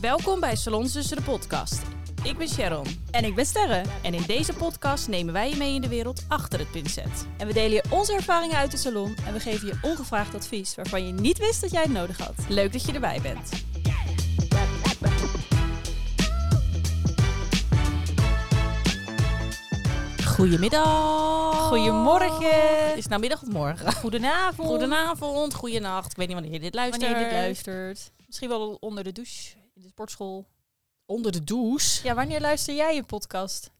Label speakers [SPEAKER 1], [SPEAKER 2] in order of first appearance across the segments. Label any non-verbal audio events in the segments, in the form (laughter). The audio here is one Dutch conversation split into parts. [SPEAKER 1] Welkom bij Salons Tussen de Podcast. Ik ben Sharon.
[SPEAKER 2] En ik ben Sterre.
[SPEAKER 1] En in deze podcast nemen wij je mee in de wereld achter het pincet.
[SPEAKER 2] En we delen je onze ervaringen uit de salon en we geven je ongevraagd advies waarvan je niet wist dat jij het nodig had.
[SPEAKER 1] Leuk dat je erbij bent. Goedemiddag.
[SPEAKER 2] Goedemorgen.
[SPEAKER 1] Is het nou middag of morgen?
[SPEAKER 2] Goedenavond.
[SPEAKER 1] Goedenavond, goedenacht. Ik weet niet wanneer je dit luistert.
[SPEAKER 2] Wanneer je dit luistert. Misschien wel onder de douche, in de sportschool.
[SPEAKER 1] Onder de douche.
[SPEAKER 2] Ja, wanneer luister jij een podcast?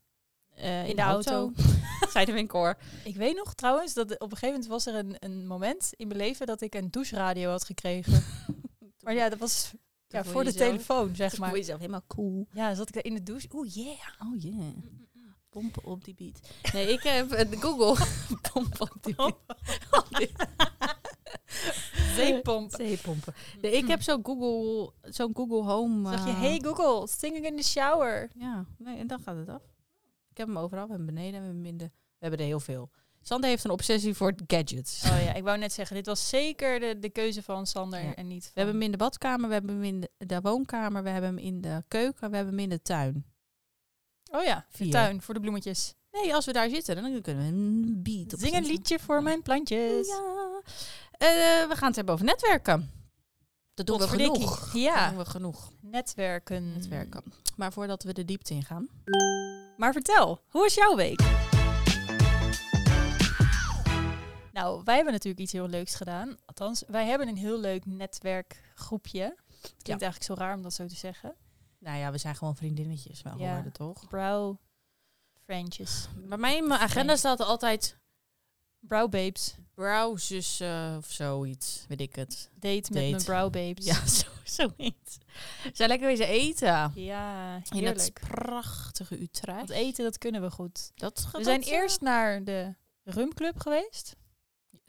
[SPEAKER 1] Eh,
[SPEAKER 2] In de auto.
[SPEAKER 1] (laughs) Zeiden we in (laughs) koor.
[SPEAKER 2] Ik weet nog trouwens dat op een gegeven moment was er een, een moment in mijn leven dat ik een doucheradio had gekregen. (laughs) maar ja, dat was ja,
[SPEAKER 1] voel
[SPEAKER 2] voor
[SPEAKER 1] je
[SPEAKER 2] de
[SPEAKER 1] jezelf-
[SPEAKER 2] telefoon,
[SPEAKER 1] Echt
[SPEAKER 2] zeg
[SPEAKER 1] maar.
[SPEAKER 2] maar.
[SPEAKER 1] jezelf helemaal cool.
[SPEAKER 2] Ja, zat ik daar in de douche. Oeh, (laughs) yeah.
[SPEAKER 1] Oh jee. Pompen op die beat. Nee, ik heb eh, de Google. (laughs) Oh, Pompen op die (laughs) beat.
[SPEAKER 2] Zeepomp.
[SPEAKER 1] Zeepompen. Nee, ik heb zo'n Google, zo'n Google Home.
[SPEAKER 2] Zeg je,
[SPEAKER 1] eh,
[SPEAKER 2] hey Google, singing in the shower.
[SPEAKER 1] Ja, nee, en dan gaat het af. Ik heb hem overal. We hebben hem beneden, we hebben hem in de... We hebben er heel veel. Sander heeft een obsessie voor gadgets.
[SPEAKER 2] Oh ja, ik wou net zeggen, dit was zeker de, de keuze van Sander
[SPEAKER 1] Ja.
[SPEAKER 2] en niet van...
[SPEAKER 1] We hebben hem in de badkamer, we hebben hem in de, de woonkamer, we hebben hem in de keuken, we hebben hem in de tuin.
[SPEAKER 2] Oh ja,
[SPEAKER 1] Vier.
[SPEAKER 2] de tuin voor de bloemetjes.
[SPEAKER 1] Nee, als we daar zitten, dan kunnen we een beat op
[SPEAKER 2] Zing een liedje voor mijn plantjes.
[SPEAKER 1] Ja. Eh, we gaan het hebben over netwerken. Dat doen we
[SPEAKER 2] Potverdikkie.
[SPEAKER 1] genoeg. Dat
[SPEAKER 2] Ja,
[SPEAKER 1] doen we genoeg.
[SPEAKER 2] netwerken.
[SPEAKER 1] Netwerken. Maar voordat we de diepte ingaan.
[SPEAKER 2] Maar vertel, hoe was jouw week? Nou, wij hebben natuurlijk iets heel leuks gedaan. Althans, wij hebben een heel leuk netwerkgroepje. Het klinkt eigenlijk zo raar om dat zo te zeggen.
[SPEAKER 1] Nou ja, we zijn gewoon vriendinnetjes wel
[SPEAKER 2] Ja.
[SPEAKER 1] geworden, toch?
[SPEAKER 2] Brow friendjes.
[SPEAKER 1] Bij mij in mijn agenda staat er altijd
[SPEAKER 2] Brow babes.
[SPEAKER 1] browsers of zoiets, weet ik het.
[SPEAKER 2] Date, met
[SPEAKER 1] Date.
[SPEAKER 2] mijn brow babes.
[SPEAKER 1] Ja, (laughs) zo, zoiets. We zijn lekker wezen eten.
[SPEAKER 2] ja
[SPEAKER 1] In het
[SPEAKER 2] heerlijk.
[SPEAKER 1] prachtige Utrecht.
[SPEAKER 2] Want eten, dat kunnen we goed.
[SPEAKER 1] Dat,
[SPEAKER 2] We zijn eerst naar de rumclub geweest.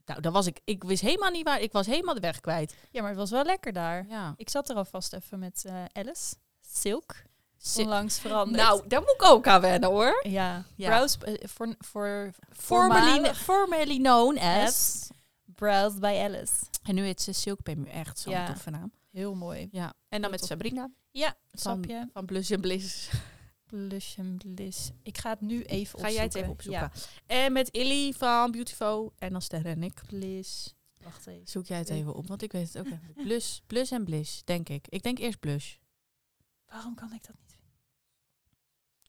[SPEAKER 1] Nou, dat was ik. Ik wist helemaal niet waar. Ik was helemaal de weg kwijt.
[SPEAKER 2] Ja, maar het was wel lekker daar.
[SPEAKER 1] Ja.
[SPEAKER 2] Ik zat er alvast even met eh, Alice. Silk.
[SPEAKER 1] Zit-
[SPEAKER 2] Onlangs veranderd.
[SPEAKER 1] Nou, daar moet ik ook aan wennen hoor.
[SPEAKER 2] Ja.
[SPEAKER 1] Ja.
[SPEAKER 2] Brows, eh, voor, voor
[SPEAKER 1] Formerly,
[SPEAKER 2] Voormalig.
[SPEAKER 1] formerly known as.
[SPEAKER 2] As Brows by Alice.
[SPEAKER 1] En nu heet ze Silk Pemu. Echt zo'n
[SPEAKER 2] Ja.
[SPEAKER 1] toffe naam.
[SPEAKER 2] Heel mooi.
[SPEAKER 1] Ja. En dan
[SPEAKER 2] Heel
[SPEAKER 1] met
[SPEAKER 2] tof.
[SPEAKER 1] Sabrina.
[SPEAKER 2] Ja,
[SPEAKER 1] Van,
[SPEAKER 2] snap je?
[SPEAKER 1] van Blush en Bliss.
[SPEAKER 2] Blush en bliss. Ik ga het nu even opzoeken.
[SPEAKER 1] Ga jij het even opzoeken. En met Illy van Beautiful. En dan Sterre en ik.
[SPEAKER 2] Ja. Dus Bliss. Wacht even.
[SPEAKER 1] Zoek jij het
[SPEAKER 2] Ik-
[SPEAKER 1] even op, want ik weet het ook even. Plus, plus en bliss, denk ik. Ik denk eerst plus.
[SPEAKER 2] Waarom kan ik dat niet vinden?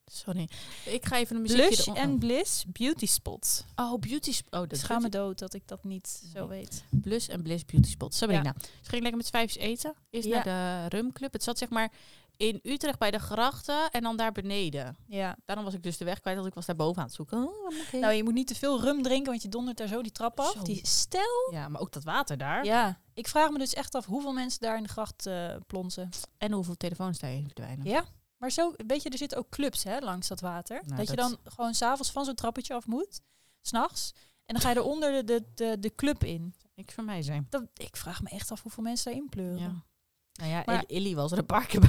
[SPEAKER 1] Sorry. Ik ga even een muziekje...
[SPEAKER 2] Blush
[SPEAKER 1] erom-
[SPEAKER 2] en bliss beauty spots.
[SPEAKER 1] Oh, beauty... sp- Oh, dat is
[SPEAKER 2] Schaam me dood dat ik dat niet
[SPEAKER 1] Nee.
[SPEAKER 2] zo weet.
[SPEAKER 1] Plus en bliss beauty spot. Sabrina. Ze ging lekker met z'n vijfjes eten. Eerst
[SPEAKER 2] Ja.
[SPEAKER 1] naar de rumclub. Het zat zeg maar in Utrecht bij de grachten en dan daar beneden.
[SPEAKER 2] Ja.
[SPEAKER 1] Daarom was ik dus de weg kwijt, want ik was daar boven aan het zoeken. Oh, waar moet ik heen?
[SPEAKER 2] Nou, je moet niet te veel rum drinken, want je dondert daar zo die trap af.
[SPEAKER 1] Zo.
[SPEAKER 2] Die stel.
[SPEAKER 1] ja, maar ook dat water daar.
[SPEAKER 2] Ja. Ik vraag me dus echt af hoeveel mensen daar in de gracht eh, plonsen.
[SPEAKER 1] En hoeveel telefoons daarin verdwijnen.
[SPEAKER 2] Ja, maar zo, weet je, er zitten ook clubs hè, langs dat water.
[SPEAKER 1] Nou,
[SPEAKER 2] dat, je
[SPEAKER 1] dat-
[SPEAKER 2] dan gewoon s'avonds van zo'n trappetje af moet, s'nachts. En dan ga je eronder de, de, de, de club in.
[SPEAKER 1] Niks voor mij zijn.
[SPEAKER 2] Dat, ik vraag me echt af hoeveel mensen daarin pleuren.
[SPEAKER 1] Ja. Nou ja,
[SPEAKER 2] Maar-
[SPEAKER 1] Il- Illy was er een paar keer bij.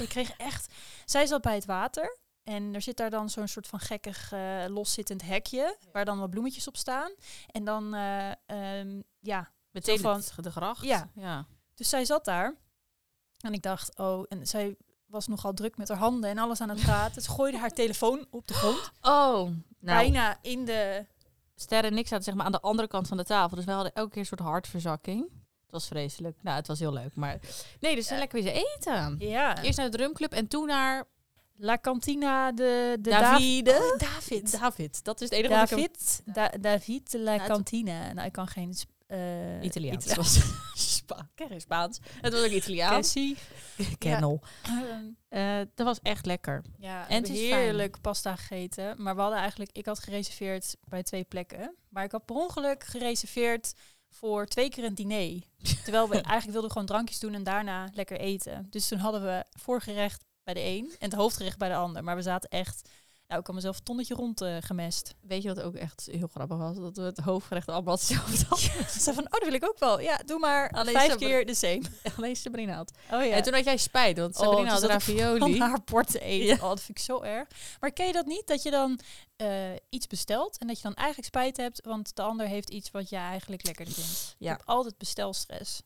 [SPEAKER 2] Ik kreeg echt... Zij zat bij het water. En er zit daar dan zo'n soort van gekkig eh, loszittend hekje. Waar dan wat bloemetjes op staan. En dan, eh, ehm, ja,
[SPEAKER 1] Meteen
[SPEAKER 2] van-
[SPEAKER 1] het- de gracht.
[SPEAKER 2] Ja.
[SPEAKER 1] ja.
[SPEAKER 2] Dus zij zat daar. En ik dacht, oh, en zij was nogal druk met haar handen en alles aan het praten. Ze gooide haar telefoon op de grond.
[SPEAKER 1] Oh, nou.
[SPEAKER 2] Bijna in de.
[SPEAKER 1] Ster en ik zaten zeg maar aan de andere kant van de tafel. Dus wij hadden elke keer een soort hartverzakking. Het was vreselijk. Nou, het was heel leuk. Maar nee, dus zijn lekker weer eens eten.
[SPEAKER 2] Ja.
[SPEAKER 1] Eerst naar de drumclub en toen naar
[SPEAKER 2] La Cantina de, de
[SPEAKER 1] Davide.
[SPEAKER 2] Dav- Oh, David.
[SPEAKER 1] David. Dat is het enige wat ik hem-
[SPEAKER 2] David. Da- David de La
[SPEAKER 1] Nou, het-
[SPEAKER 2] Cantina. Nou, ik kan geen. Sp- eh,
[SPEAKER 1] Italiaans. Het was (laughs) Spa Kijk, Spaans. Het was ook Italiaans.
[SPEAKER 2] Cassie.
[SPEAKER 1] Kennel.
[SPEAKER 2] Ehm,
[SPEAKER 1] Eh, dat was echt lekker.
[SPEAKER 2] Ja,
[SPEAKER 1] En
[SPEAKER 2] en
[SPEAKER 1] het is
[SPEAKER 2] heerlijk pasta gegeten. Maar we hadden eigenlijk, ik had gereserveerd bij twee plekken. Maar ik had per ongeluk gereserveerd voor twee keer een (laughs) diner. Terwijl we eigenlijk wilden gewoon drankjes doen en daarna lekker eten. Dus toen hadden we voorgerecht bij de een en het hoofdgerecht bij de ander. Maar we zaten echt, nou ik had mezelf een tonnetje rond eh, gemest.
[SPEAKER 1] Weet je wat ook echt heel grappig was? Dat we het hoofdgerecht allemaal hetzelfde hadden.
[SPEAKER 2] Ze zei van, oh dat wil ik ook wel. Ja, doe maar
[SPEAKER 1] Alleen
[SPEAKER 2] vijf
[SPEAKER 1] Sabrina-
[SPEAKER 2] keer de same.
[SPEAKER 1] (laughs) Alleen Sabrina had.
[SPEAKER 2] Oh ja.
[SPEAKER 1] En toen had jij spijt, want
[SPEAKER 2] Oh,
[SPEAKER 1] Sabrina
[SPEAKER 2] toen
[SPEAKER 1] had (laughs)
[SPEAKER 2] zat ik
[SPEAKER 1] ravioli.
[SPEAKER 2] van haar bord te eten.
[SPEAKER 1] Ja.
[SPEAKER 2] Oh, dat vind ik zo erg. Maar ken je dat niet? Dat je dan eh, iets bestelt en dat je dan eigenlijk spijt hebt, want de ander heeft iets wat jij eigenlijk lekkerder vindt.
[SPEAKER 1] Ja.
[SPEAKER 2] Ik heb altijd bestelstress.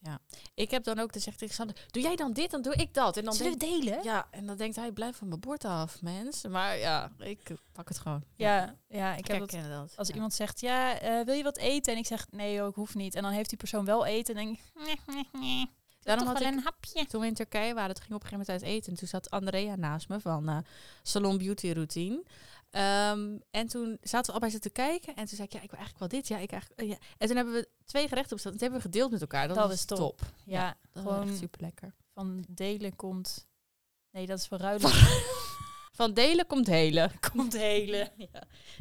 [SPEAKER 1] Ik heb dan ook, dan zegt Alexander, doe jij dan dit, dan doe ik dat. En dan
[SPEAKER 2] Zullen we
[SPEAKER 1] denkt-
[SPEAKER 2] delen?
[SPEAKER 1] ja, en dan denkt hij, blijf van mijn bord af, mens. Maar ja, ik eh, pak het gewoon.
[SPEAKER 2] Ja, eh, ja, ik
[SPEAKER 1] ik
[SPEAKER 2] heb
[SPEAKER 1] herken
[SPEAKER 2] dat.
[SPEAKER 1] dat.
[SPEAKER 2] Als
[SPEAKER 1] ja.
[SPEAKER 2] iemand zegt, ja, eh, wil je wat eten? En ik zeg, nee joh, ik hoef niet. En dan heeft die persoon wel eten en denk ik, nee, nee, nee.
[SPEAKER 1] Daarom
[SPEAKER 2] Toch
[SPEAKER 1] had
[SPEAKER 2] wel
[SPEAKER 1] ik-
[SPEAKER 2] een hapje.
[SPEAKER 1] Toen we in Turkije waren, toen gingen we op een gegeven moment uit eten. En toen zat Andrea naast me van eh, Salon Beauty Routine. Ehm, en toen zaten we al bij ze te kijken. En toen zei ik, ja, ik wil eigenlijk wel dit. Ja, ik eigenlijk, eh, ja. En toen hebben we twee gerechten besteld. En toen hebben we gedeeld met elkaar. Dat,
[SPEAKER 2] Dat
[SPEAKER 1] was
[SPEAKER 2] is
[SPEAKER 1] top.
[SPEAKER 2] top.
[SPEAKER 1] Ja,
[SPEAKER 2] Ja,
[SPEAKER 1] Dat was
[SPEAKER 2] gewoon
[SPEAKER 1] echt super lekker.
[SPEAKER 2] van delen komt... Nee, dat is van ruilen
[SPEAKER 1] Van delen komt helen. (laughs)
[SPEAKER 2] komt helen.
[SPEAKER 1] Ja.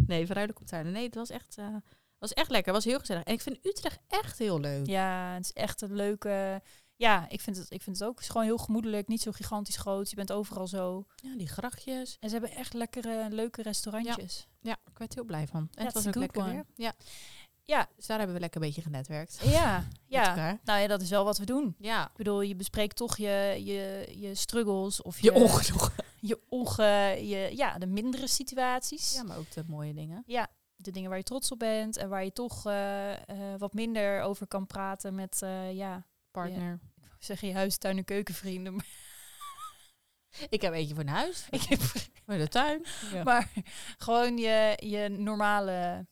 [SPEAKER 1] Nee, van ruilen komt huilen. Nee, het was echt, eh, was echt lekker. Het was heel gezellig. En ik vind Utrecht echt heel leuk.
[SPEAKER 2] Ja, het is echt een leuke... Ja, ik vind, het, ik vind het ook. Het is gewoon heel gemoedelijk, niet zo gigantisch groot. Je bent overal zo.
[SPEAKER 1] Ja, die grachtjes.
[SPEAKER 2] En ze hebben echt lekkere, leuke restaurantjes.
[SPEAKER 1] Ja, ik werd heel blij van. En het was
[SPEAKER 2] That's a
[SPEAKER 1] ook
[SPEAKER 2] good
[SPEAKER 1] lekker
[SPEAKER 2] one.
[SPEAKER 1] weer. Ja.
[SPEAKER 2] Ja.
[SPEAKER 1] Dus daar hebben we lekker een beetje genetwerkt.
[SPEAKER 2] Ja,
[SPEAKER 1] (laughs)
[SPEAKER 2] ja.
[SPEAKER 1] Met elkaar.
[SPEAKER 2] Nou ja, dat is wel wat we doen.
[SPEAKER 1] Ja.
[SPEAKER 2] Ik bedoel, je bespreekt toch je, je, je struggles of
[SPEAKER 1] Je ongenoegen.
[SPEAKER 2] je, onge, je ja, de mindere situaties.
[SPEAKER 1] Ja, maar ook de mooie dingen.
[SPEAKER 2] De dingen waar je trots op bent en waar je toch eh, eh, wat minder over kan praten met, eh, ja,
[SPEAKER 1] Partner.
[SPEAKER 2] ik wou zeggen je huis, tuin en keukenvrienden. (laughs) Maar
[SPEAKER 1] (laughs) Ik heb eentje voor een huis,
[SPEAKER 2] ik heb,
[SPEAKER 1] voor de tuin. Ja.
[SPEAKER 2] (laughs) maar gewoon je, je normale,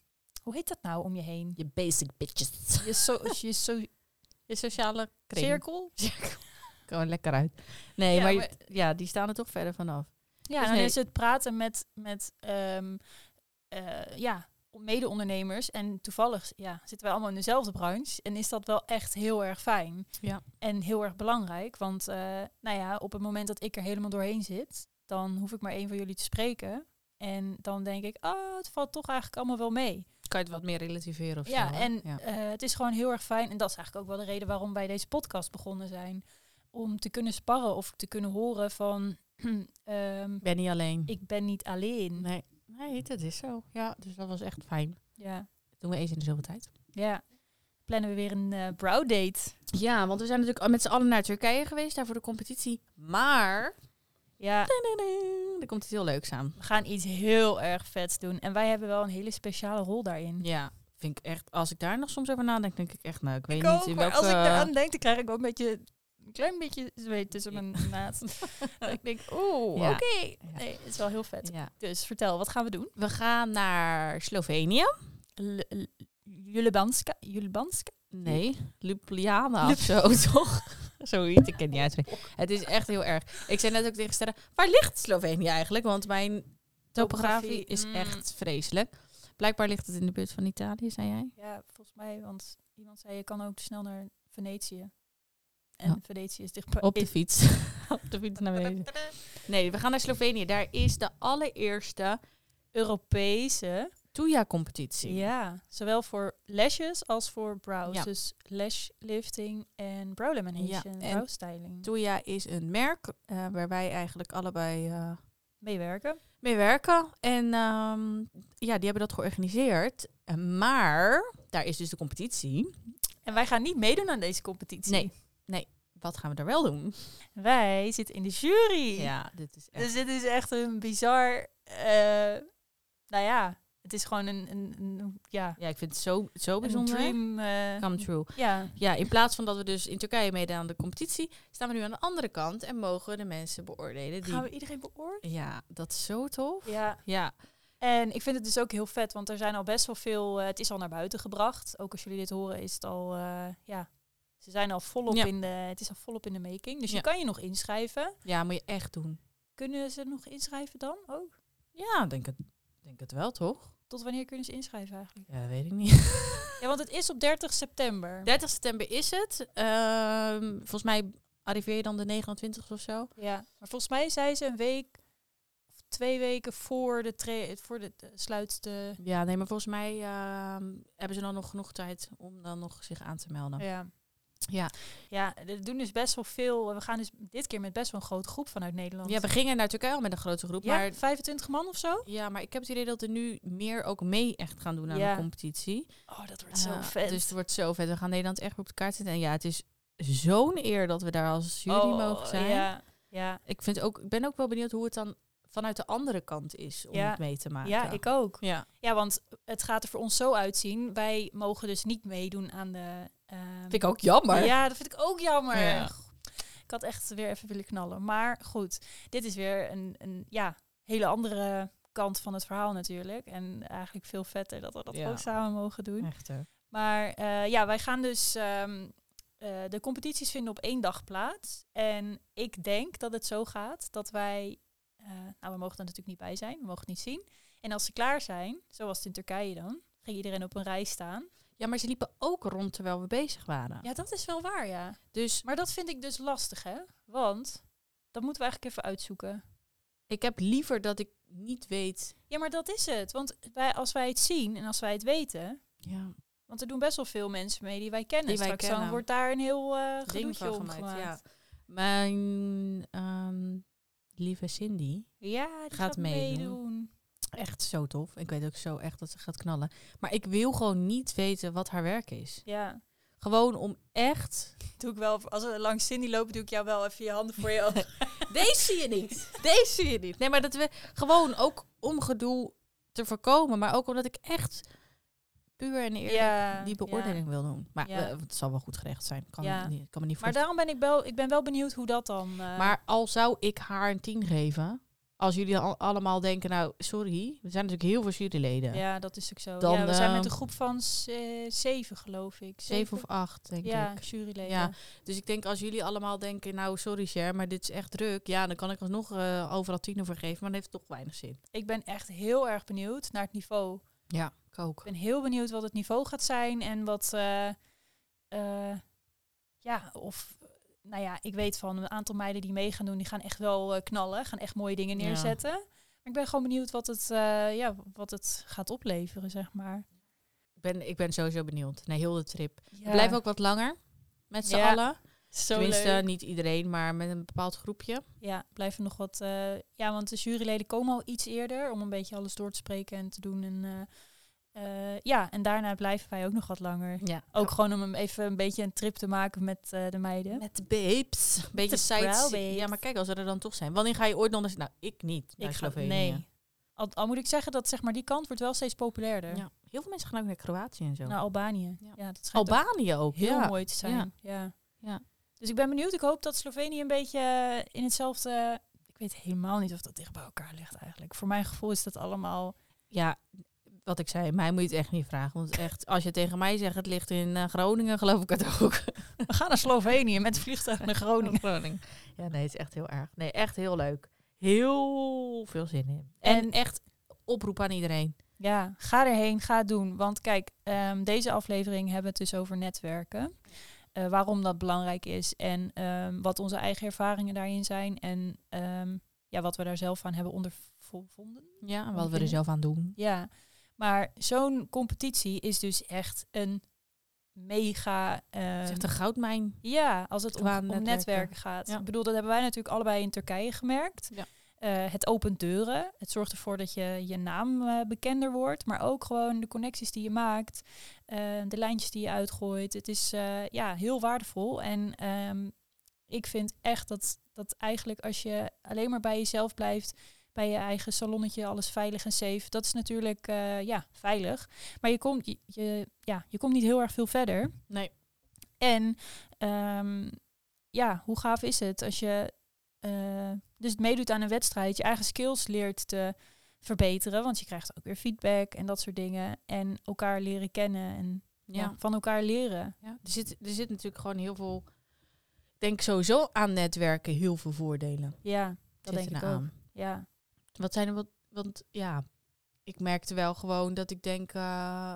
[SPEAKER 2] hoe heet dat nou om je heen?
[SPEAKER 1] Je basic bitches.
[SPEAKER 2] Je, so, je so,
[SPEAKER 1] Je sociale kring.
[SPEAKER 2] cirkel?
[SPEAKER 1] Gewoon lekker uit. Nee,
[SPEAKER 2] Ja,
[SPEAKER 1] maar,
[SPEAKER 2] maar-
[SPEAKER 1] ja, die staan er toch verder vanaf.
[SPEAKER 2] Ja,
[SPEAKER 1] Dus
[SPEAKER 2] en dan
[SPEAKER 1] nee.
[SPEAKER 2] is het praten met, met ehm, eh, ja, mede-ondernemers. En toevallig ja, zitten wij allemaal in dezelfde branche. En is dat wel echt heel erg fijn.
[SPEAKER 1] Ja.
[SPEAKER 2] En heel erg belangrijk. Want eh, nou ja, op het moment dat ik er helemaal doorheen zit, dan hoef ik maar één van jullie te spreken. En dan denk ik, oh, het valt toch eigenlijk allemaal wel mee.
[SPEAKER 1] Kan je het wat meer relativeren of
[SPEAKER 2] ja,
[SPEAKER 1] zo? hè?
[SPEAKER 2] en
[SPEAKER 1] Ja.
[SPEAKER 2] eh, het is gewoon heel erg fijn. En dat is eigenlijk ook wel de reden waarom wij deze podcast begonnen zijn. Om te kunnen sparren of te kunnen horen van, (clears throat) ehm,
[SPEAKER 1] Ik ben niet alleen.
[SPEAKER 2] ik ben niet alleen.
[SPEAKER 1] Nee. nee, dat is zo. Ja, dus dat was echt fijn.
[SPEAKER 2] Ja,
[SPEAKER 1] Dat doen we eens in de zoveel tijd.
[SPEAKER 2] ja. Plannen we weer een eh brow date.
[SPEAKER 1] Ja, want we zijn natuurlijk al met z'n allen naar Turkije geweest, daar voor de competitie. Maar,
[SPEAKER 2] Ja,
[SPEAKER 1] er komt iets heel leuks aan.
[SPEAKER 2] we gaan iets heel erg vets doen. En wij hebben wel een hele speciale rol daarin.
[SPEAKER 1] Ja, vind ik echt, als ik daar nog soms over nadenk, denk ik echt, nou, ik weet
[SPEAKER 2] Ik
[SPEAKER 1] niet
[SPEAKER 2] ook,
[SPEAKER 1] in
[SPEAKER 2] maar
[SPEAKER 1] welke...
[SPEAKER 2] als ik eraan denk, dan krijg ik wel een beetje... Een klein beetje zweet tussen mijn
[SPEAKER 1] (laughs)
[SPEAKER 2] naad. Dat ik denk, oeh,
[SPEAKER 1] Ja.
[SPEAKER 2] oké.
[SPEAKER 1] Ja.
[SPEAKER 2] Nee, het is wel heel vet.
[SPEAKER 1] Ja.
[SPEAKER 2] Dus vertel, wat gaan we doen?
[SPEAKER 1] We gaan naar Slovenië.
[SPEAKER 2] L- L- Julebanska? Julebanska?
[SPEAKER 1] Nee, Ljubljana of zo, (laughs) toch? Zoiets, ik ken het niet uitspreken. Het is echt heel erg. Ik zei net ook tegen Sterren, waar ligt Slovenië eigenlijk? Want mijn topografie
[SPEAKER 2] Topografie,
[SPEAKER 1] is
[SPEAKER 2] mm.
[SPEAKER 1] echt vreselijk. Blijkbaar ligt het in de buurt van Italië, zei jij.
[SPEAKER 2] Ja, volgens mij, want iemand zei, je kan ook snel naar Venetië. En
[SPEAKER 1] Ja.
[SPEAKER 2] Venetië is dichtbij.
[SPEAKER 1] Op de fiets. (laughs) Op de (laughs) fiets naar beneden. Nee, we gaan naar Slovenië. Daar is de allereerste
[SPEAKER 2] Europese
[SPEAKER 1] Tuya-competitie.
[SPEAKER 2] Ja, zowel voor lashes als voor brows.
[SPEAKER 1] Ja.
[SPEAKER 2] Dus lash lifting en brow lamination,
[SPEAKER 1] Ja, en
[SPEAKER 2] brow styling.
[SPEAKER 1] Tuya is een merk eh, waar wij eigenlijk allebei eh,
[SPEAKER 2] Meewerken.
[SPEAKER 1] mee werken. En ehm, ja, die hebben dat georganiseerd. Eh, Maar daar is dus de competitie.
[SPEAKER 2] En wij gaan niet meedoen aan deze competitie.
[SPEAKER 1] Nee. Wat gaan we daar wel (laughs) doen?
[SPEAKER 2] Wij zitten in de jury.
[SPEAKER 1] Ja, dit is echt.
[SPEAKER 2] Dus dit is echt een bizar... eh, nou ja, het is gewoon een, een, een- ja,
[SPEAKER 1] Ja, ik vind het zo, zo
[SPEAKER 2] een
[SPEAKER 1] bijzonder.
[SPEAKER 2] dream. eh,
[SPEAKER 1] Come true.
[SPEAKER 2] ja,
[SPEAKER 1] Ja, in plaats van dat we dus in Turkije meedoen aan de competitie, staan we nu aan de andere kant en mogen de mensen beoordelen die.
[SPEAKER 2] gaan we iedereen beoordelen?
[SPEAKER 1] Ja, dat is zo tof.
[SPEAKER 2] Ja,
[SPEAKER 1] Ja,
[SPEAKER 2] En ik vind het dus ook heel vet, want er zijn al best wel veel. eh, het is al naar buiten gebracht. Ook als jullie dit horen, is het al. eh, ja, ze zijn al volop
[SPEAKER 1] Ja.
[SPEAKER 2] in de. Het is al volop in de making. Dus
[SPEAKER 1] Ja.
[SPEAKER 2] je kan je nog inschrijven.
[SPEAKER 1] ja moet je echt doen.
[SPEAKER 2] Kunnen ze nog inschrijven dan ook?
[SPEAKER 1] Ja, denk het, denk het wel, toch?
[SPEAKER 2] Tot wanneer kunnen ze inschrijven eigenlijk?
[SPEAKER 1] Ja, dat weet ik (laughs) niet.
[SPEAKER 2] Ja, want het is op 30 september.
[SPEAKER 1] 30 september is het. Ehm, volgens mij arriveer je dan de 29 of zo.
[SPEAKER 2] Ja. Maar volgens mij zijn ze een week of twee weken voor de tra- voor de, de sluit de.
[SPEAKER 1] Ja, nee, maar volgens mij ehm, hebben ze dan nog genoeg tijd om dan nog zich aan te melden.
[SPEAKER 2] Ja.
[SPEAKER 1] Ja.
[SPEAKER 2] Ja, er doen dus best wel veel. We gaan dus dit keer met best wel een grote groep vanuit Nederland.
[SPEAKER 1] Ja, we gingen naar Turkije al met een grote groep,
[SPEAKER 2] Ja,
[SPEAKER 1] maar
[SPEAKER 2] 25 man of zo?
[SPEAKER 1] Ja, maar ik heb het idee dat er nu meer ook mee echt gaan doen aan
[SPEAKER 2] Ja.
[SPEAKER 1] de competitie.
[SPEAKER 2] Oh, dat wordt
[SPEAKER 1] Eh,
[SPEAKER 2] zo vet.
[SPEAKER 1] Dus het wordt zo vet. We gaan Nederland echt weer op de kaart zetten. En ja, het is zo'n eer dat we daar als jury
[SPEAKER 2] Oh,
[SPEAKER 1] mogen zijn.
[SPEAKER 2] Ja, ja.
[SPEAKER 1] Ik, vind ook, ik ben ook wel benieuwd hoe het dan vanuit de andere kant is om
[SPEAKER 2] Ja.
[SPEAKER 1] het mee te maken.
[SPEAKER 2] Ja, ik ook.
[SPEAKER 1] Ja.
[SPEAKER 2] Ja, want het gaat er voor ons zo uitzien. Wij mogen dus niet meedoen aan de... ehm,
[SPEAKER 1] Vind ik ook jammer.
[SPEAKER 2] Ja, dat vind ik ook jammer.
[SPEAKER 1] Ja.
[SPEAKER 2] Goh, Ik had echt weer even willen knallen. Maar goed, dit is weer een, een ja, hele andere kant van het verhaal natuurlijk. En eigenlijk veel vetter dat we dat
[SPEAKER 1] Ja.
[SPEAKER 2] ook samen mogen doen.
[SPEAKER 1] Echter.
[SPEAKER 2] Maar eh, ja, wij gaan dus... ehm, eh, de competities vinden op één dag plaats. En ik denk dat het zo gaat dat wij... eh, nou, we mogen er natuurlijk niet bij zijn. We mogen het niet zien. En als ze klaar zijn, zoals het in Turkije dan... ging iedereen op een rij staan.
[SPEAKER 1] Ja, maar ze liepen ook rond terwijl we bezig waren.
[SPEAKER 2] Ja, dat is wel waar, ja.
[SPEAKER 1] Dus
[SPEAKER 2] Maar dat vind ik dus lastig, hè? Want dat moeten we eigenlijk even uitzoeken.
[SPEAKER 1] ik heb liever dat ik niet weet.
[SPEAKER 2] Ja, maar dat is het. Want wij, als wij het zien en als wij het weten...
[SPEAKER 1] Ja,
[SPEAKER 2] Want er doen best wel veel mensen mee die wij kennen.
[SPEAKER 1] Die wij
[SPEAKER 2] Straks dan
[SPEAKER 1] kennen.
[SPEAKER 2] wordt daar een heel eh
[SPEAKER 1] ding
[SPEAKER 2] gedoetje
[SPEAKER 1] van
[SPEAKER 2] om
[SPEAKER 1] gemaakt.
[SPEAKER 2] gemaakt.
[SPEAKER 1] Ja. Mijn ehm, lieve Cindy.
[SPEAKER 2] Ja, die
[SPEAKER 1] Gaat
[SPEAKER 2] gaat,
[SPEAKER 1] meedoen.
[SPEAKER 2] meedoen.
[SPEAKER 1] Echt zo tof. Ik weet ook zo echt dat ze gaat knallen. Maar ik wil gewoon niet weten wat haar werk is.
[SPEAKER 2] Ja,
[SPEAKER 1] Gewoon om echt.
[SPEAKER 2] doe ik wel. Als we langs Cindy lopen, doe ik jou wel even je handen voor je (laughs) ogen.
[SPEAKER 1] Deze zie je niet. (laughs) Deze zie je niet. Nee, maar dat we gewoon ook om gedoe te voorkomen. Maar ook omdat ik echt puur en eerlijk
[SPEAKER 2] ja,
[SPEAKER 1] die
[SPEAKER 2] ja.
[SPEAKER 1] beoordeling wil doen. Maar
[SPEAKER 2] Ja.
[SPEAKER 1] eh, het zal wel goed gerecht zijn. Kan,
[SPEAKER 2] Ja.
[SPEAKER 1] me, niet, kan me niet voorstellen.
[SPEAKER 2] Maar daarom ben ik wel, ik ben wel benieuwd hoe dat dan... eh,
[SPEAKER 1] Maar al zou ik haar een 10 geven, als jullie al- allemaal denken, nou, sorry, er zijn natuurlijk heel veel juryleden.
[SPEAKER 2] ja, dat is ook zo.
[SPEAKER 1] Dan,
[SPEAKER 2] ja, we zijn met
[SPEAKER 1] eh,
[SPEAKER 2] een groep van ze- zeven, geloof ik.
[SPEAKER 1] Zeven of acht, denk
[SPEAKER 2] Ja,
[SPEAKER 1] ik.
[SPEAKER 2] juryleden.
[SPEAKER 1] Ja. Dus ik denk als jullie allemaal denken, nou, sorry Cher, maar dit is echt druk. Ja, dan kan ik alsnog eh, overal tien over geven, maar dat heeft toch weinig zin.
[SPEAKER 2] Ik ben echt heel erg benieuwd naar het niveau.
[SPEAKER 1] Ja, ik
[SPEAKER 2] Ik
[SPEAKER 1] ook.
[SPEAKER 2] ben heel benieuwd wat het niveau gaat zijn en wat. eh, eh, ja, of. Nou ja, ik weet van een aantal meiden die mee gaan doen, die gaan echt wel eh, knallen, gaan echt mooie dingen
[SPEAKER 1] Ja.
[SPEAKER 2] neerzetten. Maar ik ben gewoon benieuwd wat het, eh, ja, wat het gaat opleveren, zeg maar.
[SPEAKER 1] Ik ben, ik ben sowieso benieuwd naar heel de trip.
[SPEAKER 2] Ja,
[SPEAKER 1] Blijf ook wat langer met z'n
[SPEAKER 2] Ja,
[SPEAKER 1] allen.
[SPEAKER 2] zo
[SPEAKER 1] Tenminste,
[SPEAKER 2] leuk.
[SPEAKER 1] niet iedereen, maar met een bepaald groepje.
[SPEAKER 2] Ja, blijven nog wat. eh, ja, want de juryleden komen al iets eerder om een beetje alles door te spreken en te doen. En, eh, eh, ja, en daarna blijven wij ook nog wat langer.
[SPEAKER 1] Ja.
[SPEAKER 2] Ook gewoon om hem even een beetje een trip te maken met eh, de meiden.
[SPEAKER 1] Met de babes. Beetje
[SPEAKER 2] de vrouw
[SPEAKER 1] sites.
[SPEAKER 2] babes.
[SPEAKER 1] Ja, maar kijk, als we er dan toch zijn. Wanneer ga je ooit nog eens... Nou, ik niet. Naar
[SPEAKER 2] ik ga,
[SPEAKER 1] Slovenië.
[SPEAKER 2] nee. Al, al moet ik zeggen dat zeg maar die kant wordt wel steeds populairder.
[SPEAKER 1] Ja. Heel veel mensen gaan ook naar Kroatië en zo.
[SPEAKER 2] Naar Albanië.
[SPEAKER 1] Ja.
[SPEAKER 2] Ja, dat schijnt ook
[SPEAKER 1] Albanië ook,
[SPEAKER 2] heel
[SPEAKER 1] ja.
[SPEAKER 2] mooi te zijn. Ja. Ja.
[SPEAKER 1] Ja.
[SPEAKER 2] Dus ik ben benieuwd. Ik hoop dat Slovenië een beetje eh, in hetzelfde. Ik weet helemaal niet of dat dicht bij elkaar ligt eigenlijk. Voor mijn gevoel is dat allemaal.
[SPEAKER 1] Ja, wat ik zei, mij moet je het echt niet vragen. Want echt, als je tegen mij zegt, het ligt in eh, Groningen, geloof ik het ook.
[SPEAKER 2] We gaan naar Slovenië met
[SPEAKER 1] (laughs)
[SPEAKER 2] vliegtuig naar Groningen.
[SPEAKER 1] Groningen. Ja, Oh, nee, het is echt heel erg. Nee, echt heel leuk. Heel veel zin in. En,
[SPEAKER 2] En-
[SPEAKER 1] echt oproep aan iedereen.
[SPEAKER 2] Ja, ga erheen, ga het doen. Want kijk, ehm, deze aflevering hebben we het dus over netwerken. Eh, waarom dat belangrijk is en ehm, wat onze eigen ervaringen daarin zijn. En ehm, ja, wat we daar zelf aan hebben ondervonden.
[SPEAKER 1] Ja, en wat
[SPEAKER 2] Oké.
[SPEAKER 1] we er zelf aan doen.
[SPEAKER 2] Ja, maar zo'n competitie is dus echt een mega... ehm,
[SPEAKER 1] Het is echt een goudmijn.
[SPEAKER 2] ja, als het om,
[SPEAKER 1] Qua
[SPEAKER 2] om netwerken.
[SPEAKER 1] netwerken.
[SPEAKER 2] gaat.
[SPEAKER 1] Ja.
[SPEAKER 2] Ik bedoel, dat hebben wij natuurlijk allebei in Turkije gemerkt.
[SPEAKER 1] Ja.
[SPEAKER 2] Eh, het opent deuren. Het zorgt ervoor dat je je naam eh, bekender wordt. Maar ook gewoon de connecties die je maakt. eh, de lijntjes die je uitgooit. Het is eh, ja, heel waardevol. En ehm, ik vind echt dat, dat eigenlijk als je alleen maar bij jezelf blijft... Bij je eigen salonnetje, alles veilig en safe. Dat is natuurlijk eh, ja, veilig. Maar je komt, je, je- ja, je komt niet heel erg veel verder.
[SPEAKER 1] Nee.
[SPEAKER 2] En ehm, ja, hoe gaaf is het als je eh, dus meedoet aan een wedstrijd, je eigen skills leert te verbeteren, want je krijgt ook weer feedback en dat soort dingen. En elkaar leren kennen en ja.
[SPEAKER 1] ja.
[SPEAKER 2] van elkaar leren.
[SPEAKER 1] Ja, er zit, er zit natuurlijk gewoon heel veel. Ik denk sowieso aan netwerken heel veel voordelen.
[SPEAKER 2] Ja,
[SPEAKER 1] zitten
[SPEAKER 2] dat denk ik
[SPEAKER 1] er nou
[SPEAKER 2] ook. Ja.
[SPEAKER 1] Wat zijn er wat? Want ja, ik merkte wel gewoon dat ik denk. eh,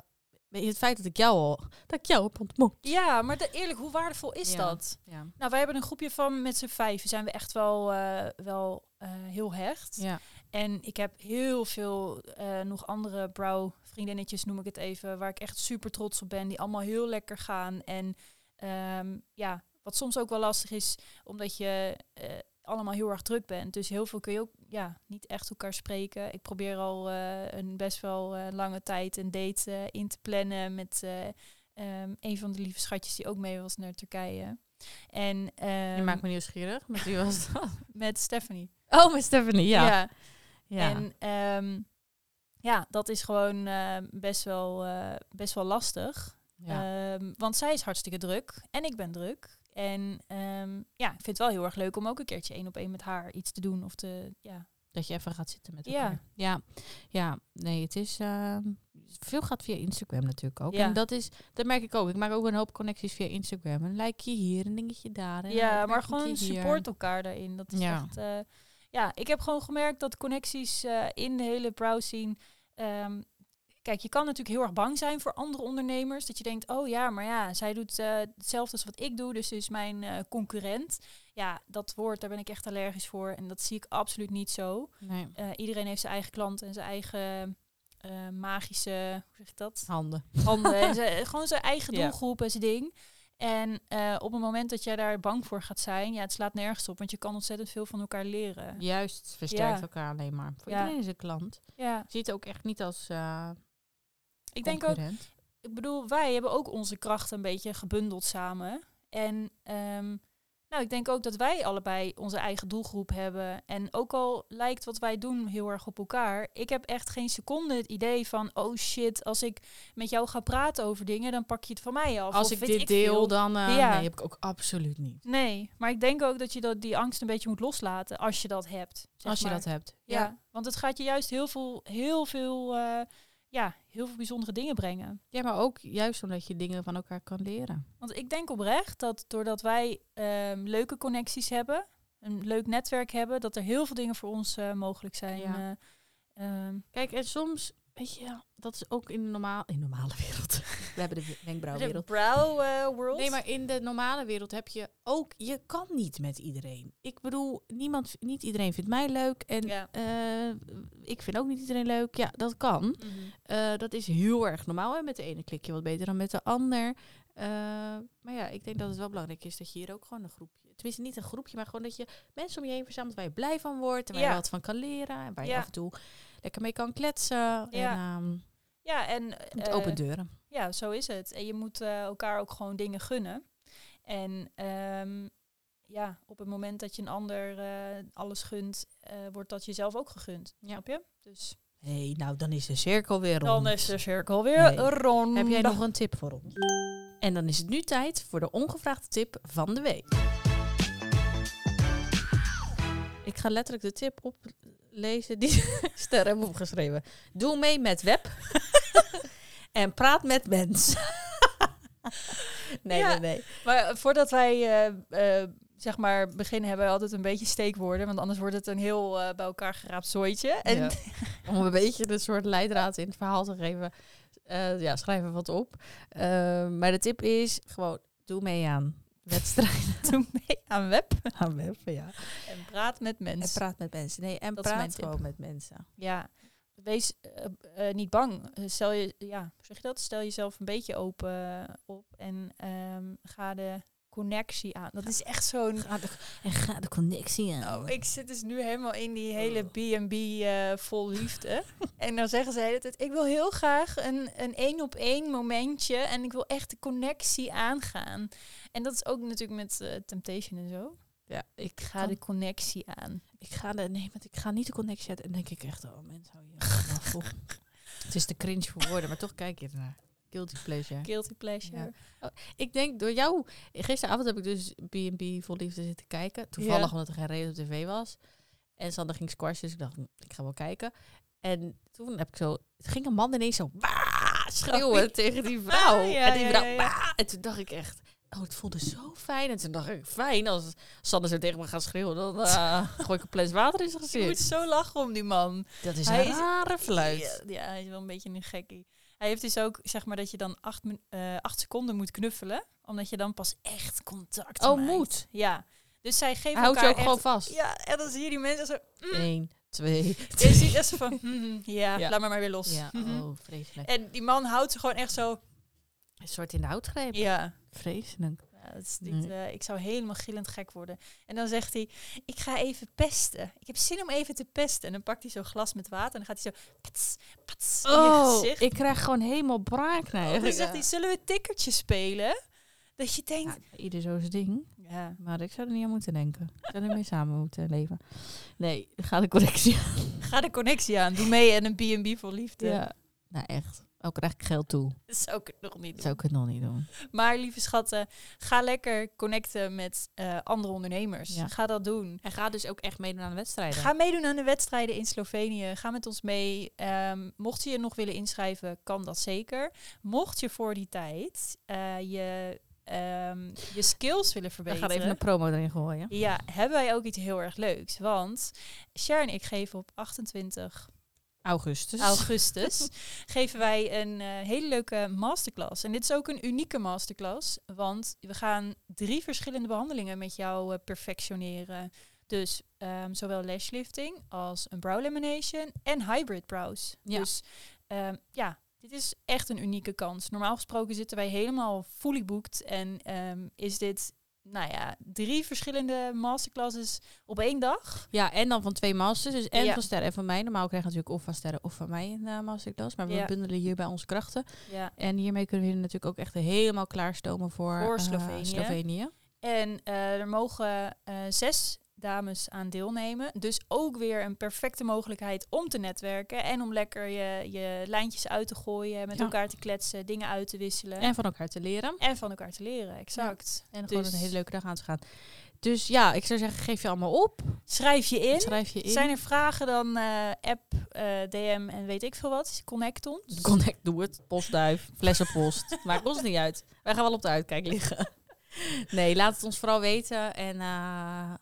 [SPEAKER 1] weet je, het feit dat ik jou al. dat ik jou heb ontmoet.
[SPEAKER 2] ja, maar de- eerlijk, hoe waardevol is
[SPEAKER 1] Ja.
[SPEAKER 2] dat?
[SPEAKER 1] Ja.
[SPEAKER 2] Nou, wij hebben een groepje van met z'n vijven zijn we echt wel, eh, wel eh, heel hecht.
[SPEAKER 1] ja.
[SPEAKER 2] En ik heb heel veel eh, nog andere brow-vriendinnetjes, noem ik het even, waar ik echt super trots op ben, die allemaal heel lekker gaan. En ehm, ja, wat soms ook wel lastig is, omdat je eh, allemaal heel erg druk bent. Dus heel veel kun je ook ja, niet echt elkaar spreken. Ik probeer al eh, een best wel eh, lange tijd een date eh, in te plannen met eh, ehm, een van de lieve schatjes die ook mee was naar Turkije. En
[SPEAKER 1] Je (laughs)
[SPEAKER 2] ehm,
[SPEAKER 1] maakt me nieuwsgierig. Met wie was dat?
[SPEAKER 2] met Stephanie.
[SPEAKER 1] Oh, met Stephanie. Ja.
[SPEAKER 2] Ja.
[SPEAKER 1] Ja.
[SPEAKER 2] En ehm, ja, dat is gewoon eh, best, wel, eh, best wel lastig.
[SPEAKER 1] ja.
[SPEAKER 2] Ehm, want zij is hartstikke druk en ik ben druk. En ehm, ja, ik vind het wel heel erg leuk om ook een keertje één op één met haar iets te doen. Of te, ja.
[SPEAKER 1] dat je even gaat zitten met
[SPEAKER 2] Ja.
[SPEAKER 1] elkaar. Ja, ja. nee, het is... eh, veel gaat via Instagram natuurlijk ook.
[SPEAKER 2] Ja.
[SPEAKER 1] En dat is... Dat merk ik ook. Ik maak ook een hoop connecties via Instagram. Een likeje hier, een dingetje daar. en een
[SPEAKER 2] ja, maar
[SPEAKER 1] opmerkingje
[SPEAKER 2] gewoon
[SPEAKER 1] hier.
[SPEAKER 2] support elkaar daarin. Dat is
[SPEAKER 1] Ja.
[SPEAKER 2] echt... eh, ja, ik heb gewoon gemerkt dat connecties eh, in de hele brow scene... ehm, Kijk, je kan natuurlijk heel erg bang zijn voor andere ondernemers. Dat je denkt, oh ja, maar ja, zij doet eh, hetzelfde als wat ik doe. Dus ze is mijn eh, concurrent. Ja, dat woord, daar ben ik echt allergisch voor. En dat zie ik absoluut niet zo.
[SPEAKER 1] Nee,
[SPEAKER 2] Eh, iedereen heeft zijn eigen klant en zijn eigen eh, magische, hoe zeg je dat?
[SPEAKER 1] handen.
[SPEAKER 2] Handen.
[SPEAKER 1] (laughs)
[SPEAKER 2] en zijn, gewoon zijn eigen
[SPEAKER 1] Ja.
[SPEAKER 2] doelgroep en zijn ding. En eh, op het moment dat jij daar bang voor gaat zijn, ja, het slaat nergens op, want je kan ontzettend veel van elkaar leren. Ja,
[SPEAKER 1] Juist, het versterkt
[SPEAKER 2] Ja.
[SPEAKER 1] elkaar alleen maar. Voor
[SPEAKER 2] Ja.
[SPEAKER 1] iedereen is een klant. Je ziet het ook echt niet als eh
[SPEAKER 2] ik denk ook,
[SPEAKER 1] concurrent.
[SPEAKER 2] ik bedoel, wij hebben ook onze krachten een beetje gebundeld samen. En ehm, nou, ik denk ook dat wij allebei onze eigen doelgroep hebben. En ook al lijkt wat wij doen heel erg op elkaar, ik heb echt geen seconde het idee van, oh shit, als ik met jou ga praten over dingen, dan pak je het van mij af.
[SPEAKER 1] Als
[SPEAKER 2] Of
[SPEAKER 1] ik
[SPEAKER 2] weet
[SPEAKER 1] dit deel,
[SPEAKER 2] veel.
[SPEAKER 1] dan... eh,
[SPEAKER 2] Ja.
[SPEAKER 1] Nee, heb ik ook absoluut niet.
[SPEAKER 2] Nee, maar ik denk ook dat je dat, die angst een beetje moet loslaten als je dat hebt. zeg
[SPEAKER 1] Als je
[SPEAKER 2] maar.
[SPEAKER 1] dat hebt.
[SPEAKER 2] Ja. want het gaat je juist heel veel, heel veel, eh, ja, heel veel bijzondere dingen brengen.
[SPEAKER 1] Ja, maar ook juist omdat je dingen van elkaar kan leren.
[SPEAKER 2] Want ik denk oprecht dat doordat wij ehm, leuke connecties hebben, een leuk netwerk hebben, dat er heel veel dingen voor ons eh, mogelijk zijn.
[SPEAKER 1] Ja.
[SPEAKER 2] eh, ehm,
[SPEAKER 1] Kijk, en soms, weet je, dat is ook in de, normaal, in de normale wereld. We hebben (laughs) de wenkbrauwwereld.
[SPEAKER 2] brow eh, world.
[SPEAKER 1] Nee, maar in de normale wereld heb je ook, je kan niet met iedereen. Ik bedoel, niemand, niet iedereen vindt mij leuk en
[SPEAKER 2] Ja.
[SPEAKER 1] eh, ik vind ook niet iedereen leuk. Ja, dat kan.
[SPEAKER 2] Mhm.
[SPEAKER 1] Eh, dat is heel erg normaal. En met de ene klik je wat beter dan met de ander. Eh, maar ja, ik denk dat het wel belangrijk is dat je hier ook gewoon een groepje... Tenminste, niet een groepje, maar gewoon dat je mensen om je heen verzamelt... waar je blij van wordt en waar
[SPEAKER 2] Ja.
[SPEAKER 1] je wat van kan leren. En waar je
[SPEAKER 2] Ja.
[SPEAKER 1] af en toe lekker mee kan kletsen. Ja. En ehm,
[SPEAKER 2] Ja, en
[SPEAKER 1] met
[SPEAKER 2] eh,
[SPEAKER 1] open deuren.
[SPEAKER 2] Ja, zo is het. En je moet eh, elkaar ook gewoon dingen gunnen. En ehm, ja, op het moment dat je een ander eh, alles gunt, eh, wordt dat jezelf ook gegund.
[SPEAKER 1] Ja.
[SPEAKER 2] Snap je? Dus
[SPEAKER 1] Hé, nou dan is de cirkel weer rond.
[SPEAKER 2] dan is de cirkel weer
[SPEAKER 1] Nee.
[SPEAKER 2] rond.
[SPEAKER 1] Heb jij nog een tip voor ons? En dan is het nu tijd voor de ongevraagde tip van de week. Ik ga letterlijk de tip oplezen die (laughs) Ster hebben opgeschreven. Doe mee met web (laughs) en praat met mensen. nee,
[SPEAKER 2] Ja.
[SPEAKER 1] nee, nee.
[SPEAKER 2] Maar eh, voordat wij eh, eh, zeg maar beginnen, hebben we altijd een beetje steekwoorden. Want anders wordt het een heel eh, bij elkaar geraapt zooitje. En (laughs)
[SPEAKER 1] Ja. (laughs) Om een beetje een soort leidraad in het verhaal te geven. eh, ja, schrijf er wat op. Eh, maar de tip is gewoon doe mee aan wedstrijden
[SPEAKER 2] doe mee aan web
[SPEAKER 1] (laughs) aan web. Ja.
[SPEAKER 2] en praat met
[SPEAKER 1] En
[SPEAKER 2] mensen.
[SPEAKER 1] praat met mensen. Nee, en
[SPEAKER 2] Dat is mijn
[SPEAKER 1] praat
[SPEAKER 2] tip.
[SPEAKER 1] gewoon met mensen.
[SPEAKER 2] Ja, wees eh, eh, niet bang. Eh, Stel je, ja, hoe zeg je dat? Stel jezelf een beetje open eh, op en ehm, ga de connectie aan. Dat is echt zo'n.
[SPEAKER 1] en ga de connectie aan.
[SPEAKER 2] Oh, ik zit dus nu helemaal in die
[SPEAKER 1] Oh.
[SPEAKER 2] hele B&B eh,
[SPEAKER 1] (laughs)
[SPEAKER 2] vol liefde. en dan zeggen ze de hele tijd, ik wil heel graag een een één op één momentje en ik wil echt de connectie aangaan. En dat is ook natuurlijk met eh, Temptation en zo.
[SPEAKER 1] ja, ik
[SPEAKER 2] Ga
[SPEAKER 1] kan-
[SPEAKER 2] de connectie aan.
[SPEAKER 1] ik ga de, nee, want ik ga niet de connectie uit. En denk ik echt, oh mensen, hou je (laughs) vanaf, joh. Het is te cringe voor woorden, maar toch kijk je ernaar. Guilty pleasure.
[SPEAKER 2] Guilty pleasure.
[SPEAKER 1] Ja. Ik denk door jou... Gisteravond heb ik dus B&B vol liefde zitten kijken. Toevallig
[SPEAKER 2] Ja.
[SPEAKER 1] omdat er geen reden op tv was. En Sander ging squashen, dus ik dacht, hm, ik ga wel kijken. En toen heb ik zo... Het ging een man ineens zo... "Waa!" schreeuwen
[SPEAKER 2] Oh,
[SPEAKER 1] tegen die vrouw.
[SPEAKER 2] Ah, ja,
[SPEAKER 1] en die
[SPEAKER 2] ja,
[SPEAKER 1] vrouw...
[SPEAKER 2] ja, ja.
[SPEAKER 1] "Waa!" En toen dacht ik echt... Oh, het voelde zo fijn. En toen dacht ik, fijn, als Sander zo tegen me gaat schreeuwen... dan
[SPEAKER 2] (laughs)
[SPEAKER 1] eh, gooi ik een plas water in zijn
[SPEAKER 2] Je moet
[SPEAKER 1] gezicht.
[SPEAKER 2] zo lachen om die man.
[SPEAKER 1] Dat is
[SPEAKER 2] Hij
[SPEAKER 1] een
[SPEAKER 2] is-
[SPEAKER 1] rare fluit.
[SPEAKER 2] Ja, ja, hij is wel een beetje een gekkie. Hij heeft dus ook, zeg maar, dat je dan acht, min- eh, acht seconden moet knuffelen. Omdat je dan pas echt contact
[SPEAKER 1] Oh,
[SPEAKER 2] maakt.
[SPEAKER 1] moet.
[SPEAKER 2] Ja. Dus zij geven
[SPEAKER 1] Hij houdt je
[SPEAKER 2] elkaar
[SPEAKER 1] ook gewoon
[SPEAKER 2] echt-
[SPEAKER 1] vast.
[SPEAKER 2] Ja, en dan zie je die mensen (laughs) zo...
[SPEAKER 1] Eén, twee,
[SPEAKER 2] Je
[SPEAKER 1] drie.
[SPEAKER 2] ziet echt zo van, "Mhm, ja,
[SPEAKER 1] Ja.
[SPEAKER 2] laat me maar weer los.
[SPEAKER 1] Ja,
[SPEAKER 2] Mhm.
[SPEAKER 1] oh, vreselijk.
[SPEAKER 2] En die man houdt ze gewoon echt zo...
[SPEAKER 1] Een soort in de houtgreep.
[SPEAKER 2] Ja.
[SPEAKER 1] Vreselijk.
[SPEAKER 2] Ja, dat is niet, eh, ik zou helemaal gillend gek worden. En dan zegt hij, ik ga even pesten. Ik heb zin om even te pesten. En dan pakt hij zo'n glas met water en dan gaat hij zo... Pats, pats, in je
[SPEAKER 1] Oh,
[SPEAKER 2] gezicht. Oh,
[SPEAKER 1] ik krijg gewoon helemaal braak naar.
[SPEAKER 2] En dan zegt hij, zullen we tikkertje spelen? Dat je denkt...
[SPEAKER 1] Ja, ieder zo zijn ding.
[SPEAKER 2] Ja.
[SPEAKER 1] Maar ik zou er niet aan moeten denken. Ik zou er mee samen moeten leven. Nee, ga de correctie.
[SPEAKER 2] Ga de connectie aan. Doe mee en een B&B voor liefde.
[SPEAKER 1] Ja. Nou, echt. Ook krijg ik geld toe.
[SPEAKER 2] Dat zou ik nog niet doen.
[SPEAKER 1] Zou ik het nog niet doen.
[SPEAKER 2] Maar lieve schatten, ga lekker connecten met eh, andere ondernemers.
[SPEAKER 1] Ja.
[SPEAKER 2] Ga dat doen.
[SPEAKER 1] En ga dus ook echt meedoen aan de wedstrijden.
[SPEAKER 2] Ga meedoen aan de wedstrijden in Slovenië. Ga met ons mee. Ehm, mocht je je nog willen inschrijven, kan dat zeker. Mocht je voor die tijd eh, je, ehm, je skills willen
[SPEAKER 1] We
[SPEAKER 2] verbeteren.
[SPEAKER 1] gaan even een promo erin gooien.
[SPEAKER 2] Ja, hebben wij ook iets heel erg leuks. Want Cher en ik geven op 28
[SPEAKER 1] Augustus.
[SPEAKER 2] augustus (laughs) geven wij een eh, hele leuke masterclass. En dit is ook een unieke masterclass, want we gaan drie verschillende behandelingen met jou eh, perfectioneren. Dus ehm, zowel lashlifting als een brow lamination en hybrid brows.
[SPEAKER 1] Ja.
[SPEAKER 2] Dus ehm, ja, dit is echt een unieke kans. Normaal gesproken zitten wij helemaal fully booked en ehm, is dit, nou ja, drie verschillende masterclasses op één dag.
[SPEAKER 1] Ja, en dan van twee masters. Dus en
[SPEAKER 2] Ja.
[SPEAKER 1] van Sterren en van mij. Normaal krijg je natuurlijk of van Sterren of van mij een eh, masterclass. Maar we
[SPEAKER 2] Ja.
[SPEAKER 1] bundelen hier bij onze krachten.
[SPEAKER 2] Ja.
[SPEAKER 1] En hiermee kunnen we jullie natuurlijk ook echt helemaal klaarstomen voor,
[SPEAKER 2] Voor
[SPEAKER 1] eh,
[SPEAKER 2] Slovenië.
[SPEAKER 1] Slovenië.
[SPEAKER 2] En eh, er mogen eh, zes dames aan deelnemen. Dus ook weer een perfecte mogelijkheid om te netwerken. En om lekker je, je lijntjes uit te gooien, met
[SPEAKER 1] Ja.
[SPEAKER 2] elkaar te kletsen, dingen uit te wisselen. En,
[SPEAKER 1] En van elkaar te leren.
[SPEAKER 2] van elkaar te leren, exact.
[SPEAKER 1] En gewoon
[SPEAKER 2] Dus-
[SPEAKER 1] een hele leuke dag aan te gaan. Dus ja, ik zou zeggen, geef je allemaal op.
[SPEAKER 2] Schrijf je in.
[SPEAKER 1] Schrijf je in.
[SPEAKER 2] Zijn er vragen dan eh, app, eh, DM en weet ik veel wat? Connect ons.
[SPEAKER 1] Connect, doe het. Postduif, flessenpost. (laughs) Maakt ons niet uit. Wij gaan wel op de uitkijk liggen. (laughs) Nee, laat het ons vooral weten. En eh,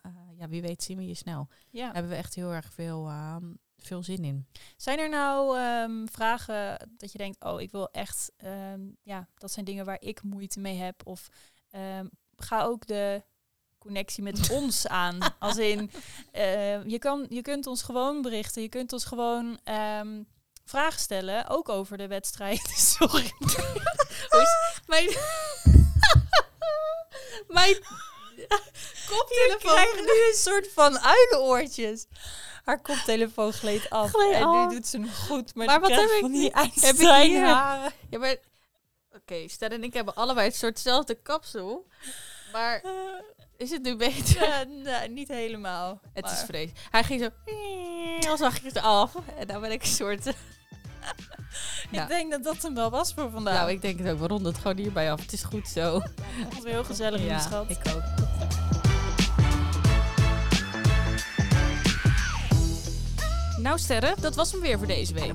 [SPEAKER 1] eh, ja, wie weet zien we je snel.
[SPEAKER 2] Ja.
[SPEAKER 1] Daar hebben we echt heel erg veel, ehm, veel zin in.
[SPEAKER 2] Zijn er nou ehm, vragen dat je denkt, oh, ik wil echt, ehm, ja, dat zijn dingen waar ik moeite mee heb? Of ehm, ga ook de connectie
[SPEAKER 1] (laughs)
[SPEAKER 2] met ons aan. Als in, eh, je, kan, je kunt ons gewoon berichten, je kunt ons gewoon ehm, vragen stellen, ook over de wedstrijd. (laughs) Sorry.
[SPEAKER 1] Ah. Mijn, mijn (laughs) koptelefoon
[SPEAKER 2] krijgt nu een soort van uilenoortjes. Haar koptelefoon gleed af
[SPEAKER 1] Gleed
[SPEAKER 2] en
[SPEAKER 1] af.
[SPEAKER 2] nu doet ze hem goed. Maar,
[SPEAKER 1] Maar
[SPEAKER 2] die
[SPEAKER 1] wat
[SPEAKER 2] krijgt
[SPEAKER 1] heb ik
[SPEAKER 2] van
[SPEAKER 1] nu-
[SPEAKER 2] (laughs) die
[SPEAKER 1] ik hier?
[SPEAKER 2] Einsteinharen.
[SPEAKER 1] Ja, maar... Oké, Ster en ik hebben allebei het soortzelfde kapsel. Maar
[SPEAKER 2] Eh,
[SPEAKER 1] is het nu beter?
[SPEAKER 2] ja, nou, niet helemaal.
[SPEAKER 1] Het
[SPEAKER 2] maar-
[SPEAKER 1] is vrees. Hij ging zo... Dan zag ik het af. En dan ben ik een soort... Ja.
[SPEAKER 2] Ik denk dat dat hem wel was voor vandaag.
[SPEAKER 1] Nou, ik denk het ook. We ronden het gewoon hierbij af. Het is goed zo.
[SPEAKER 2] vond het weer heel gezellig, ja, schat.
[SPEAKER 1] ik ook. Nou Sterren, dat was hem weer voor deze week.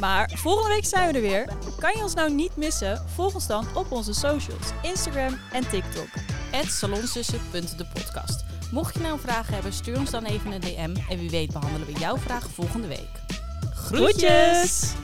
[SPEAKER 2] Maar volgende week zijn we er weer. Kan je ons nou niet missen? Volg ons dan op onze socials, Instagram en TikTok.
[SPEAKER 1] at salonzussen.depodcast. Mocht je nou een vraag hebben, stuur ons dan even een DM. En wie weet behandelen we jouw vraag volgende week.
[SPEAKER 2] Groetjes!